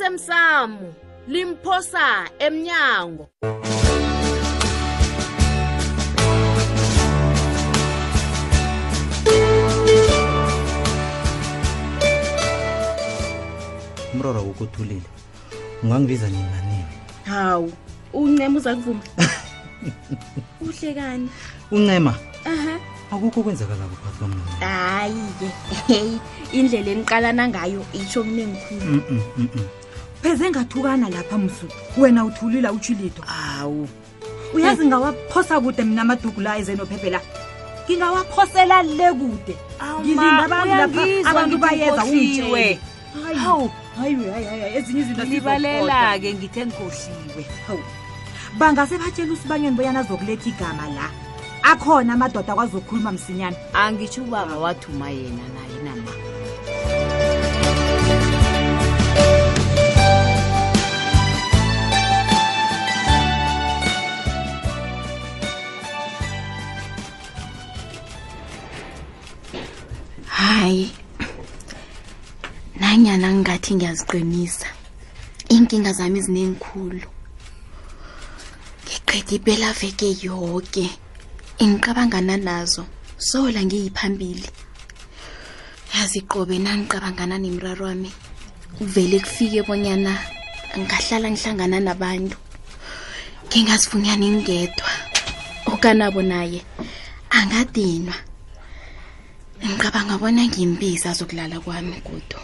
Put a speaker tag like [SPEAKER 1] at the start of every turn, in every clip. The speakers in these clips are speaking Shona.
[SPEAKER 1] osemsamo limphosa emnyango
[SPEAKER 2] umroro wokuthulile ungangibiza nini nanini
[SPEAKER 3] hawu uncema uzakuvuma uhle kani
[SPEAKER 2] uncema
[SPEAKER 3] aha
[SPEAKER 2] akukho okwenzakalako phakathi kwamncema
[SPEAKER 3] hayi-ke heyi indlela eniqalana ngayo itsho kunengikhulu
[SPEAKER 2] Mm, mm, mm, mm.
[SPEAKER 4] pheze ngathukana lapha msu wena uthulila utshilito
[SPEAKER 2] awu
[SPEAKER 4] uyazi ngawaphosa kude mna amadugu la ezenophephe la ngingawaphosela le kude ngilinda abantu lapha abantu bayeza ungitshele hawu hayi hayi hayi ezinye izinto
[SPEAKER 5] libalela-ke ngithe ngikhohliwe
[SPEAKER 4] bangase batshela usibanyoni boyana azokuletha igama la akhona amadoda akwazi ukukhuluma msinyana
[SPEAKER 5] angitsho ubaba wathuma yena naye nama
[SPEAKER 3] hayi nanyana ngingathi ngiyaziqinisa iinkinga zami ezinengikhulu ngiqeda ipelaveke yoke ingiqabangana nazo sola ngiyiphambili yazi qobe nangiqabangana nemraro wami kuvele kufike bonyana ngingahlala ngihlangana nabantu ngingazifunyani ngingedwa okanabo naye angadinwa ngicabanga bona ngimbiza azokulala kwami kudo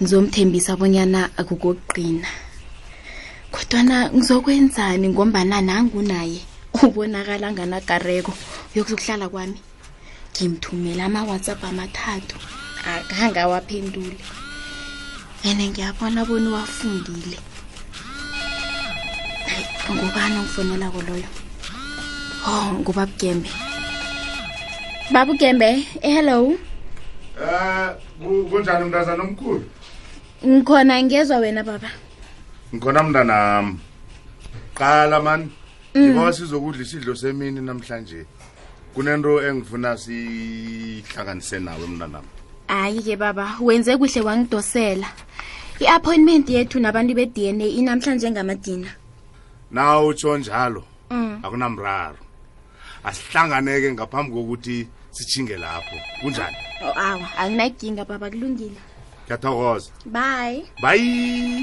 [SPEAKER 3] ngizomthembisa abonyana akukokuqina kodwana ngizokwenzani ngombana nangunaye ubonakala nganagareko yokuzokuhlala kwami ngimthumela ama-whatsapp amathathu akange awaphendule ene ngiyabona bona uwafundile Hayi, ngubani ongifonelako loyo oh nguba bugembe baba ugembe hello
[SPEAKER 6] Ah, ku- kunjani mntazana omkhulu?
[SPEAKER 3] ngikhona ngezwa wena baba
[SPEAKER 6] Ngikhona mntanami. Qala man. Ngiba sizokudla isidlo semini namhlanje. Kunento engifuna sihlanganise nawe mntanami.
[SPEAKER 3] hayi-ke baba wenze kuhle wangidosela i-appointment yethu nabantu be-dna inamhlanje ngamadina
[SPEAKER 6] Na utsho njalo.
[SPEAKER 3] Mm.
[SPEAKER 6] Akunamraro. Asihlanganeke ngaphambi kokuthi sichinge lapho. Kunjani?
[SPEAKER 3] Oh, awa anginaginga baba kulungile
[SPEAKER 6] Ngiyathokoza.
[SPEAKER 3] bye
[SPEAKER 6] Bye.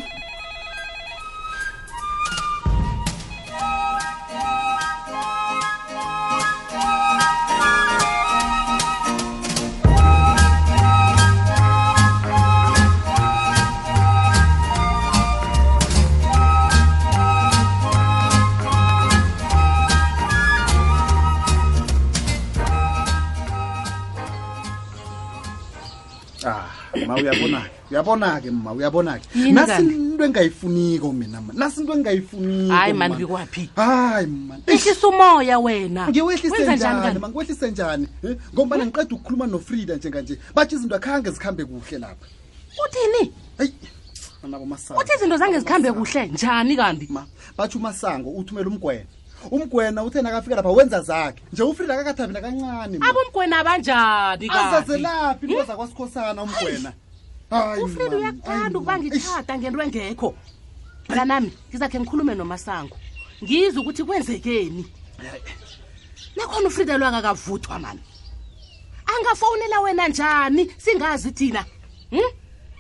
[SPEAKER 7] ah ma uyabona uyabona-ke ma uyabona-ke
[SPEAKER 5] Yini kanti?
[SPEAKER 7] nasinto engayifuniko mina ma nasinto engayifuniko
[SPEAKER 5] hayi
[SPEAKER 7] ma.
[SPEAKER 5] mani bikwaphi
[SPEAKER 7] hayi ma
[SPEAKER 5] ehlisa umoya wena
[SPEAKER 7] ngiwehlise
[SPEAKER 5] Wenza njani
[SPEAKER 7] njani
[SPEAKER 5] kanti?
[SPEAKER 7] ma ngiwehlise njani Eh, ngombana ngiqeda ukukhuluma nofrida njenganje batsho izinto akhange zikhambe kuhle lapha
[SPEAKER 5] uthini
[SPEAKER 7] eyi anabo masango
[SPEAKER 5] uthi izinto zange zikhambe kuhle njani kanti
[SPEAKER 7] ma batsho umasango uthumela umgwena umgwena uthe nakafika lapha wenza zakhe nje ufrida akakathabi nakancane ma.
[SPEAKER 5] abomgwena abanjani kanti
[SPEAKER 7] azazelaphi into zakwasikhosana umgwena Hayi,
[SPEAKER 5] ufrida
[SPEAKER 7] man,
[SPEAKER 5] uyakuthanda
[SPEAKER 7] hayi,
[SPEAKER 5] ukuba
[SPEAKER 7] man. Eish.
[SPEAKER 5] ngitshata ngento engekho mntanami ngizakhe ngikhulume nomasango ngizwe ukuthi kwenzekeni nakhona ufrida lo akakavuthwa mani angafowunela wena njani singazi thina um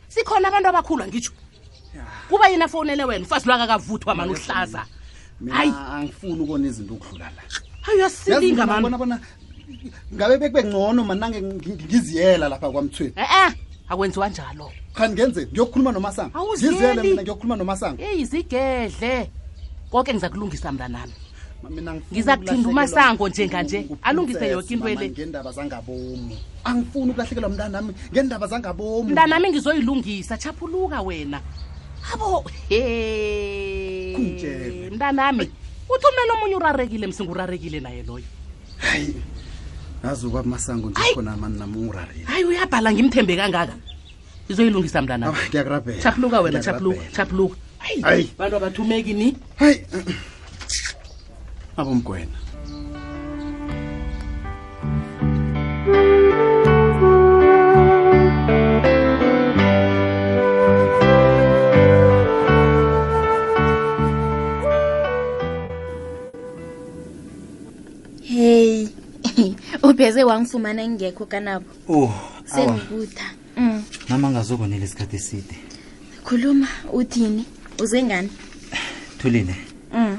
[SPEAKER 5] sikhona abantu abakhulu angitsho kuba yena afowunele wena ufazi lo akakavuthwa mani uhlaza Hayi.
[SPEAKER 7] mina angifuni ukona izinto ukudlula la Yazi
[SPEAKER 5] ayuyasilinga
[SPEAKER 7] mina
[SPEAKER 5] mani
[SPEAKER 7] ngibona bona ngabe bekube ngcono manange ngiziyela lapha kwamthweni
[SPEAKER 5] e-e akwenziwa njalo
[SPEAKER 7] khani ngenze ngiyokukhuluma nomasango
[SPEAKER 5] Awuziyeli.
[SPEAKER 7] ngiziyele mina ngiyokukhuluma nomasango
[SPEAKER 5] eyizigedle konke ngiza kulungisa mntanami
[SPEAKER 7] Ma, mina angifuni
[SPEAKER 5] Ngiza kuthinta
[SPEAKER 7] ukulahlekelwa
[SPEAKER 5] uMasango njenganje,
[SPEAKER 7] ngu-
[SPEAKER 5] alungise
[SPEAKER 7] princess,
[SPEAKER 5] yoke into
[SPEAKER 7] mama,
[SPEAKER 5] le.
[SPEAKER 7] ngendaba zangabomu angifuni ukulahlekelwa mntanami ngendaba zangabomu
[SPEAKER 5] mntanami ngizoyilungisa chaphuluka wena abo he
[SPEAKER 7] Kungitshele.
[SPEAKER 5] Eh, mntanami uthumele omunye urarekile msingurarekile naye loyo
[SPEAKER 7] hayi nazi ukwaba masango nje
[SPEAKER 5] Hayi.
[SPEAKER 7] khona mani nami ungirareli
[SPEAKER 5] hayi uyabhala ngimthembe kangaka ngizoyilungisa mntanami
[SPEAKER 7] ngiyakurabhela
[SPEAKER 5] chaphuluka wena chaphuluka
[SPEAKER 7] Ngiyakurabhela.
[SPEAKER 5] chaphuluka
[SPEAKER 7] Hayi.
[SPEAKER 5] bantu abathumeki ni
[SPEAKER 7] hayi abomgwena
[SPEAKER 8] Thank
[SPEAKER 3] upheze wangifumana ngekho kanabo
[SPEAKER 2] oh awa
[SPEAKER 3] sengibutha um
[SPEAKER 2] nami angazokonela isikhathi eside
[SPEAKER 3] khuluma uthini uze ngani
[SPEAKER 2] thulile
[SPEAKER 3] um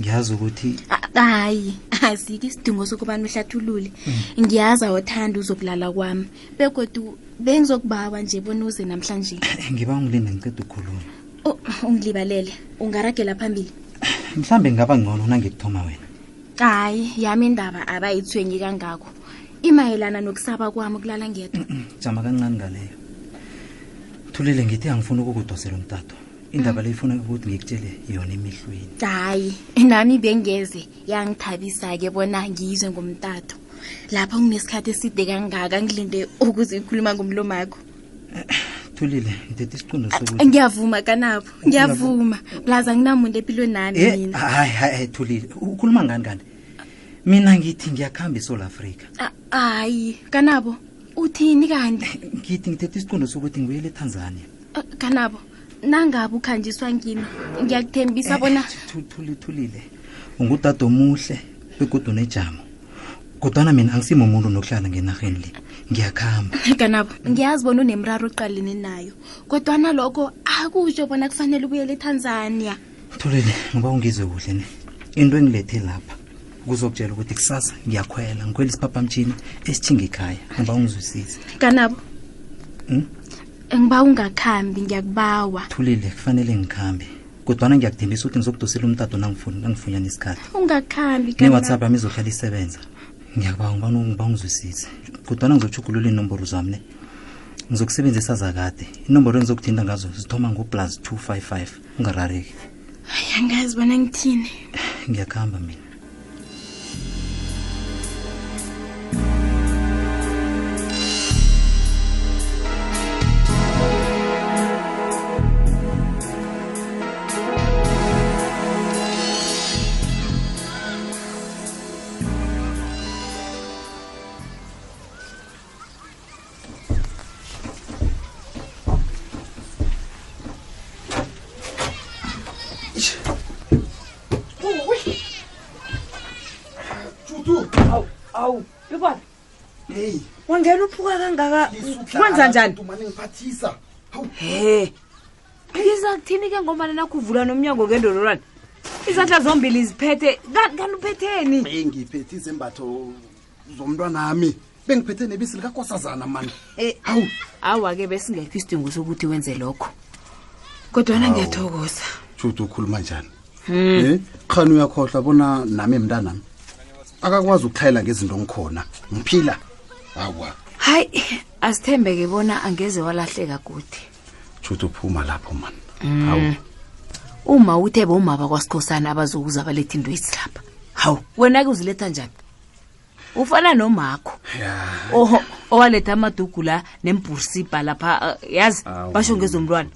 [SPEAKER 2] ngiyazi ukuthi
[SPEAKER 3] hayi azike isidingo sokubana uhlathulule ngiyazi awuthanda uzokulala kwami begodu bengizokubaba nje bona uze namhlanje
[SPEAKER 2] ngiba ngilinde ngiceda ukukhuluma
[SPEAKER 3] Oh, ungilibalele ungaragela phambili
[SPEAKER 2] mhlambe ngaba ngcono nangikuthoma wena
[SPEAKER 3] hayi yami indaba abayithwenyi kangako imayelana nokusaba kwami ukulala ngedwa
[SPEAKER 2] jama kancane ngaleyo thulile ngithi angifuni ukukudosela umtato indaba le ifuna ukuthi ngikutshele yona emihlweni
[SPEAKER 3] hayi nami bengeze yangithabisa-ke bona ngiyizwe ngomtato lapha kunesikhathi eside kangaka ngilinde ukuze ikhuluma ngomlomakho
[SPEAKER 2] thulile ngithethe isiqondo
[SPEAKER 3] Ah,
[SPEAKER 2] sokuthi
[SPEAKER 3] ngiyavuma kanabo ngiyavuma plaza nginamuntu empilweni nami
[SPEAKER 2] Eh,
[SPEAKER 3] mina
[SPEAKER 2] hayi hayi hayi, thulile ukhuluma ngani kanti mina ngithi ngiyakuhamba eSouth Africa
[SPEAKER 3] A- Ah, hayi kanabo uthini kanti
[SPEAKER 2] ngithi ngithethe isiqondo sokuthi ngibuyele eTanzania
[SPEAKER 3] Eh, kanabo nangabe ukhanjiswa ngimi ngiyakuthembisa bona
[SPEAKER 2] Thu- Thuli- thulile ungudade omuhle begodwa nejamo kodwana mina angisimo umuntu nokuhlala ngenarheni le ngiyakuhamba
[SPEAKER 3] kanabo ngiyazi bona unemraro oqalene nayo kodwana lokho akutsho bona kufanele ubuyele etanzania
[SPEAKER 2] thulile ngoba ungizwe kuhle ne into engilethe lapha kuzokutshela ukuthi kusasa ngiyakhwela ngikhwela isiphaphamtshini esithinga ekhaya ngoba ungizwisise
[SPEAKER 3] kanabo
[SPEAKER 2] Mm?
[SPEAKER 3] ngiba ungakhambi ngiyakubawa
[SPEAKER 2] thulile kufanele ngikhambe kodwana ngiyakuthembisa ukuthi ngizokudosela umtato nangifuni- nangifunyana isikhathi
[SPEAKER 3] ungakhambi
[SPEAKER 2] ne-whatsapp yami izohlala isebenza ngiyakubawa ngibana ngiba ungizwisise kodwana ngizotshugulula iinomboro zami ne ngizokusebenzisa zakade inomboro engizokuthinta ngazo zithoma ngo-plus two five five ungarareki
[SPEAKER 3] Ay, angazi bona ngithini
[SPEAKER 2] ngiyakuhamba mina
[SPEAKER 4] awu bebona
[SPEAKER 7] heyi
[SPEAKER 4] wangena uphuka kangaka kwenza njani
[SPEAKER 7] mane ngiphathisa hawu
[SPEAKER 4] he iza kuthini ke ngomane nakho uvula nomnyango kendololwane izandla zombili ziphethe Ka- kanti uphetheni
[SPEAKER 7] eyi ngiphethe izembatho zomntwanami bengiphethe nebisi likakosazana mani
[SPEAKER 4] Eh.
[SPEAKER 5] E,
[SPEAKER 7] hawu
[SPEAKER 4] awa-ke besingekho isidingo sokuthi wenze lokho kodwana ngiyathokoza
[SPEAKER 7] jude ukhuluma njani
[SPEAKER 4] Hmm.
[SPEAKER 7] um khani uyakhohlwa bona nami mntanami akakwazi ukuhlayela ngezinto ngikhona ngiphila awa
[SPEAKER 4] hayi asithembeke bona angeze walahleka Hmm. kude
[SPEAKER 7] jude uphuma lapho mani hawu
[SPEAKER 9] uma uthe bomaba kwasikhosana abazokuza baletha into esilapha hawu wena-ke uziletha njani ufana nomakho
[SPEAKER 7] ya
[SPEAKER 9] oho owaletha amadugu la nembhursibha lapha eh, yazi
[SPEAKER 7] Awu.
[SPEAKER 9] basho ngezomntwana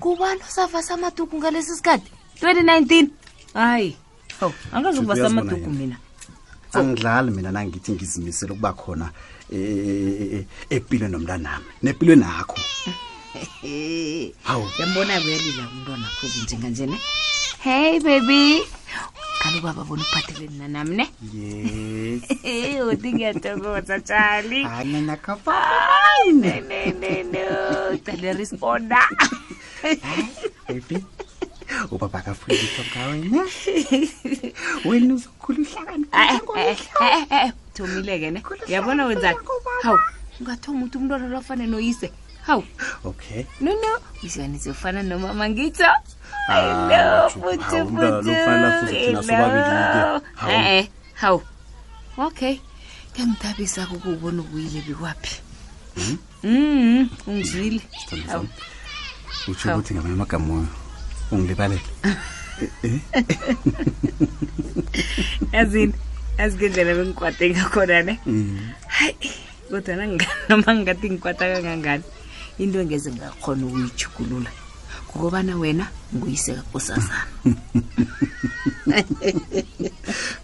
[SPEAKER 9] kubani osavasa amadugu ngalesi sikhathi 2019 hayi hawu angazi
[SPEAKER 7] Jude,
[SPEAKER 9] ukuvasa
[SPEAKER 7] uyazibona
[SPEAKER 9] amadugu
[SPEAKER 7] yini?
[SPEAKER 9] mina
[SPEAKER 7] angidlali mina nangithi ngizimisele ukuba khona eh, eh, eh, empilweni nomntanami nempilweni nakho hawu
[SPEAKER 9] yambona uyalila umntwana khubi njenganje ne hey baby kalo baba bona ukuphatheleni nanami ne
[SPEAKER 7] ye
[SPEAKER 9] oti ngiyathokoza tshali
[SPEAKER 7] ananakapane
[SPEAKER 9] cale responda
[SPEAKER 7] ebi ubaba kafundisa ngawena wena uzokhula
[SPEAKER 9] Eh, thomile-ke ne yabona wenzani hawu ungathoma ukuthi umntwana lwafane noyise hawu
[SPEAKER 7] okay
[SPEAKER 9] nono izwane zifana nomama ngitho
[SPEAKER 7] Ah, Jude, hawu, umntwana lo kufanele afuze thina sobabili-ke. Hawu.
[SPEAKER 9] ee hawu okay kuyangithabisa kukuwubona ubuyile bikwaphi
[SPEAKER 7] Hmm?
[SPEAKER 9] mm ungizwile
[SPEAKER 7] Sithando
[SPEAKER 9] Hawu.
[SPEAKER 7] sami. utsho ukuthi ngamanye amagamoyo ungilibalele
[SPEAKER 9] yazini azigendlela bengikwate ngakhona ne hayi kodwana nginga- noma ngingathi ngikwata kangangani into engeze ngakhona ukuyijugulula ngokobana wena nguyiseka kusazana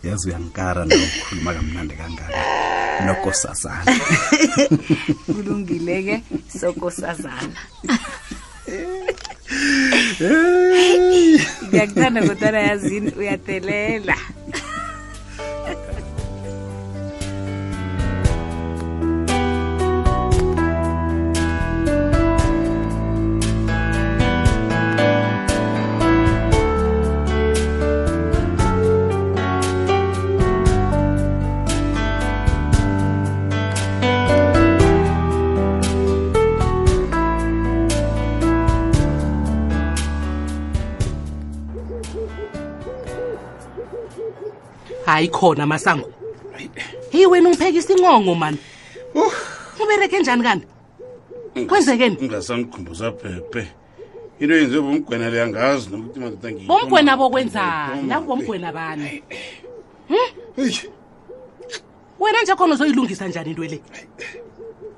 [SPEAKER 7] yazi uyankara na ukhuluma kamnandi kangaka nokosazana
[SPEAKER 9] kulungile-ke sokosazana ngiyakuthanda kodwana yazini uyathelela hayi khona masango heyi wena ungiphekisa inqongo mani ubereke njani kanti kwenzekeni
[SPEAKER 8] ungasangikhumbuza bhebhe into yenziwe bomgwena le angazi nokuthi madoda ngiyi-
[SPEAKER 9] bomgwena bokwenzani nakubomgwena bani Hm?
[SPEAKER 8] Eish,
[SPEAKER 9] wena nje khona uzoyilungisa njani into le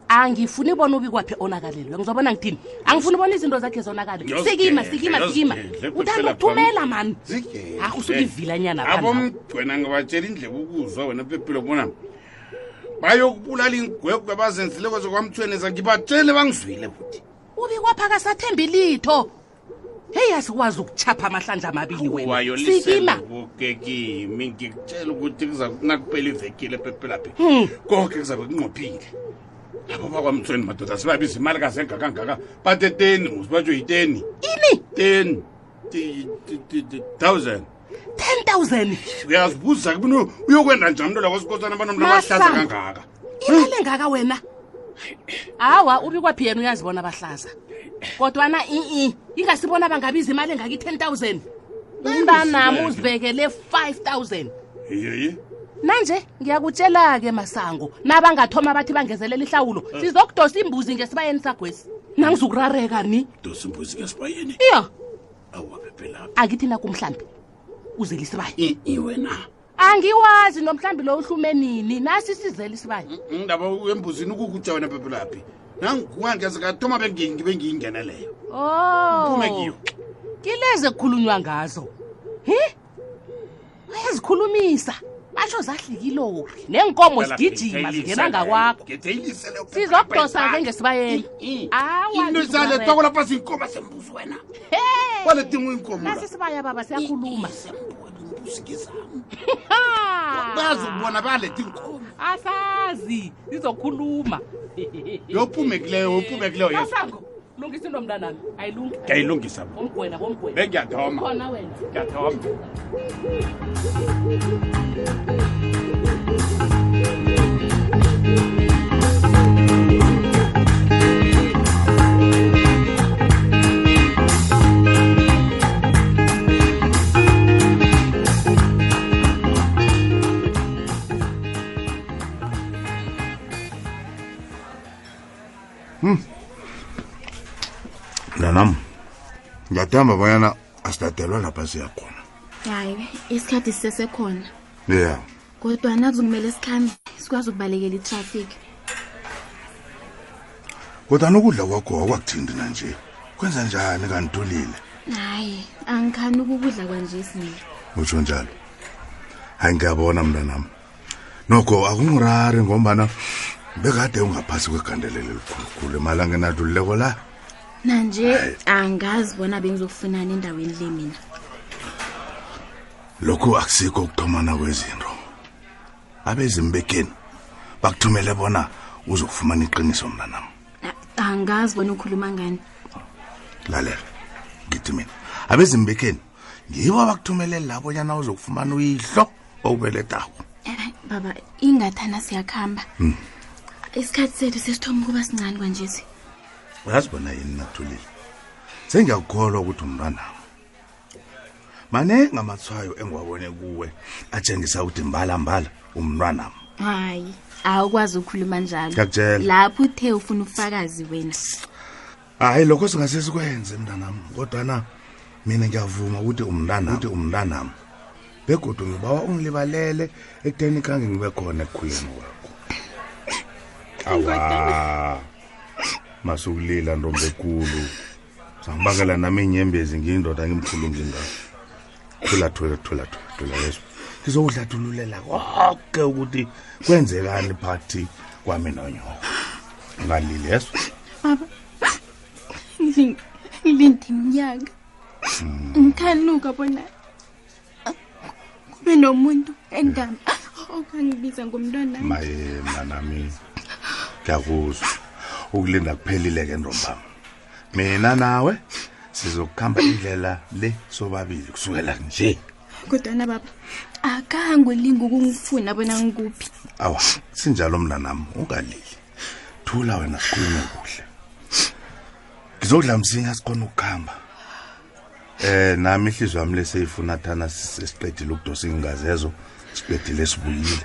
[SPEAKER 9] angifuni bona ubikwaphi onakalelwe ngizobona ngithini angifuni bona izinto zakhe zonakale
[SPEAKER 8] Yozigedla,
[SPEAKER 9] sikima sikima sikima
[SPEAKER 8] yozigedla,
[SPEAKER 9] uthanda
[SPEAKER 8] phela
[SPEAKER 9] ukuthumela
[SPEAKER 8] phambili.
[SPEAKER 9] mani
[SPEAKER 8] Zigedla.
[SPEAKER 9] Ah, usuke ivilanyana phansi.
[SPEAKER 8] abomgwena ngibatshela indleba ukuzwa wena pepile bona bayokubulala ingwegwe bazenzileyo zokwamthweneza ngibatshele bangizwile futhi
[SPEAKER 9] ubikwapha akasathembi litho heyi asikwazi ukuchapha amahlandla amabili wena sikima
[SPEAKER 8] wayolisekuke kimi ngikutshela ukuthi kuzakunakuphela ivekile pepelaphi
[SPEAKER 9] Hmm.
[SPEAKER 8] konke kuzabe kunqophile abo bakwamthweni madoda sibabiza imali kazengakangaka bateteni ngusibatsho yiteni
[SPEAKER 9] ini
[SPEAKER 8] teni ti- ti- ti- ti- thousand
[SPEAKER 9] ten thousand
[SPEAKER 8] uyazibuza kubini uyokwenda njani mntu lakosikosana abanomntu abahlaza
[SPEAKER 9] Masango.
[SPEAKER 8] kangaka
[SPEAKER 9] imali engaka wena hawa ubikwaphi yena uyazibona abahlaza kodwana i-i ingasibona bangabiza imali engaka i-ten thousand umntanami uzibekele five thousand
[SPEAKER 8] yeye
[SPEAKER 9] nanje ngiyakutshela-ke masango nabangathoma bathi bangezelela ihlawulo
[SPEAKER 8] Eh.
[SPEAKER 9] sizokudosa imbuzi ngesibayeni sagwesi nangizukurareka ni
[SPEAKER 8] dosa imbuzi ngesibayeni
[SPEAKER 9] iya
[SPEAKER 8] awapepelaphi
[SPEAKER 9] akithi nakumhlambi uzela isibaya
[SPEAKER 8] iwena
[SPEAKER 9] angiwazi nomhlambi lo uhlume nini nasi sizela isibaya
[SPEAKER 8] ndaba embuzini ukukutsha wena pepelaphi nanguwangesikathoma bengiyingeneleyo uphume
[SPEAKER 9] o
[SPEAKER 8] kiyo
[SPEAKER 9] Oh. kilezi kukhulunywa ngazo hi uyazikhulumisa basho zadlika ilori neenkomo zigijima zingena ngakwakho sizokudosa-ke ngesibayeni
[SPEAKER 8] Mm,
[SPEAKER 9] Awa,
[SPEAKER 8] ngesibalekwala phasi inkomo sembuzi wena
[SPEAKER 9] Hey!
[SPEAKER 8] kwaledinga inkomo
[SPEAKER 9] nasi isibaya baba siyakhuluma
[SPEAKER 8] sembuzi ngezam
[SPEAKER 9] Ha!
[SPEAKER 8] bazi ukubona baletha inkomo
[SPEAKER 9] asazi sizokhuluma
[SPEAKER 8] yophumekileyo yophumekileyo
[SPEAKER 9] masango lungisa into mntanami ayilungi
[SPEAKER 8] ngiyayilungisa bo.
[SPEAKER 9] bomgwena bomgwena
[SPEAKER 8] bengiyathoma
[SPEAKER 9] khona wena
[SPEAKER 8] ngiyathoma
[SPEAKER 6] Mm. mnanam ngiyathemba bonyana asidadelwa lapha siyakhona
[SPEAKER 3] hayi isikhathi sisesekhona
[SPEAKER 6] ya
[SPEAKER 3] kodwa nakuzokumele sikhambe sikwazi ukubalekela itrafiki
[SPEAKER 6] kodwa nokudla kwakho akwakuthinti nanje kwenza njani kanitulile
[SPEAKER 3] hayi angikhani ukukudla kwanje esinye
[SPEAKER 6] utsho njalo hayi ngiyabona mntanam nokho akungirari ngombana bekade ungaphasi kwegandelelo elikhulukhulu imali angenadlululeko la
[SPEAKER 3] nanje angazi bona bengizokufunana endaweni le mina
[SPEAKER 6] lokhu akusikho ukuthomana kwezinto abezimbekeni bakuthumele bona uzokufumana iqiniso mntanam
[SPEAKER 3] A- angazi bona ukhuluma ngani
[SPEAKER 6] lalela ngithi mina abezimbekeni ngibo abakuthumeleli labonyana uzokufumana uyihlo okubeledako
[SPEAKER 3] Eh, baba ingathana siyakuhamba isikhathi sethu sesithoma ukuba sincane kwanjesi
[SPEAKER 6] uyazi bona yini nathulile sengiyakukholwa ukuthi umntwanami maningi amathwayo engiwabone kuwe atshengisa ukuthi mbalambala umntwanami
[SPEAKER 3] hayi awukwazi ukukhuluma njalo
[SPEAKER 6] Ngiyakutjela.
[SPEAKER 3] lapho uthe ufuna ubufakazi wena
[SPEAKER 6] hayi lokho singase sikwenze mntanami kodwana mina ngiyavuma ukuthi umntanami ukuthi umntanami begodwa ngibawa ungilibalele ekuteni khange ngibe khona ekukhuleni kwakho awa masukulila ntombi ekulu zangibangela nami inyembezi ngiyindoda ngimkhulu ngingako thula thula thula thula thula yeso ngizowuhlathululela konke ukuthi kwenzekani phakathi kwami nonyoko ungalili yeso
[SPEAKER 3] ngilindimnyaka ngikhanuka bona kube nomuntu endama okangibiza ngomntwana
[SPEAKER 6] maye manami ngiyakuzwa ukulinda kuphelile ke ntombam mina nawe sizokuhamba indlela le sobabili kusukela nje
[SPEAKER 3] kodwana baba akangolinga ukungifuna bona ngikuphi
[SPEAKER 6] awa sinjalo mna nami ungalili thula wena sikhulume kuhle ngizodla msinya sikhona Eh, ukuhamba um nami ihliziyo yami leseyifuna thana sesiqedile ukudosa iingazezo sibedile sibuyile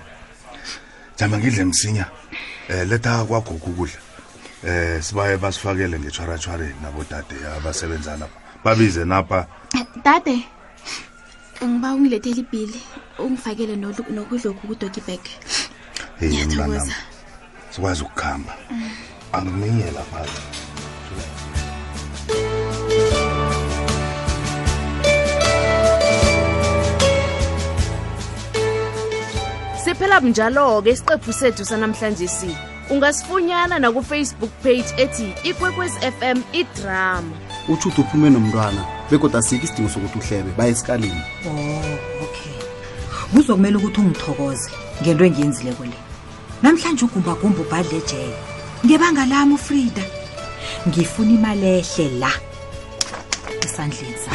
[SPEAKER 6] jama ngidle msinya um letha kwagogo ukudla um sibaye basifakele ngetshwaratshwareni nabodade abasebenza lapha babize napha
[SPEAKER 3] dade ngiba ungilethela ibhili ungifakele nolu- nokudlokhu kudogibek
[SPEAKER 6] heyi mntanam
[SPEAKER 3] Ngiyathokoza.
[SPEAKER 6] sikwazi ukukhamba angiminye lapha
[SPEAKER 5] siphela bunjalo-ke isiqephu sethu sanamhlanje si ungasifunyana nakufacebook page ethi ikwekwez fm idrama
[SPEAKER 7] utshude uphume nomntwana begoda asikho isidingo sokuthi uhlebe baye esikalini
[SPEAKER 4] oh okay kuzokumele ukuthi ungithokoze ngento engiyenzileko le namhlanje ugumbagumba ubhadle ejele ngebanga lami ufrida ngifuna imali ehle la esandleni sa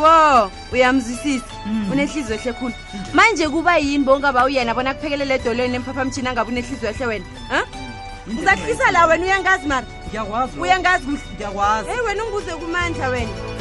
[SPEAKER 10] wo uyamzwisisa unehliziyo ehle khulu manje kuba yini bongaba uyena bona kuphekelele edolweni emphaphamtshini angabe unehliziyo ehle wena ha uzahlisa la wena uyangazi mara
[SPEAKER 4] ngiyakwazi
[SPEAKER 10] uyangazi kuhle
[SPEAKER 4] ngiyakwazi
[SPEAKER 10] eyi wena ungibuze kumandla wena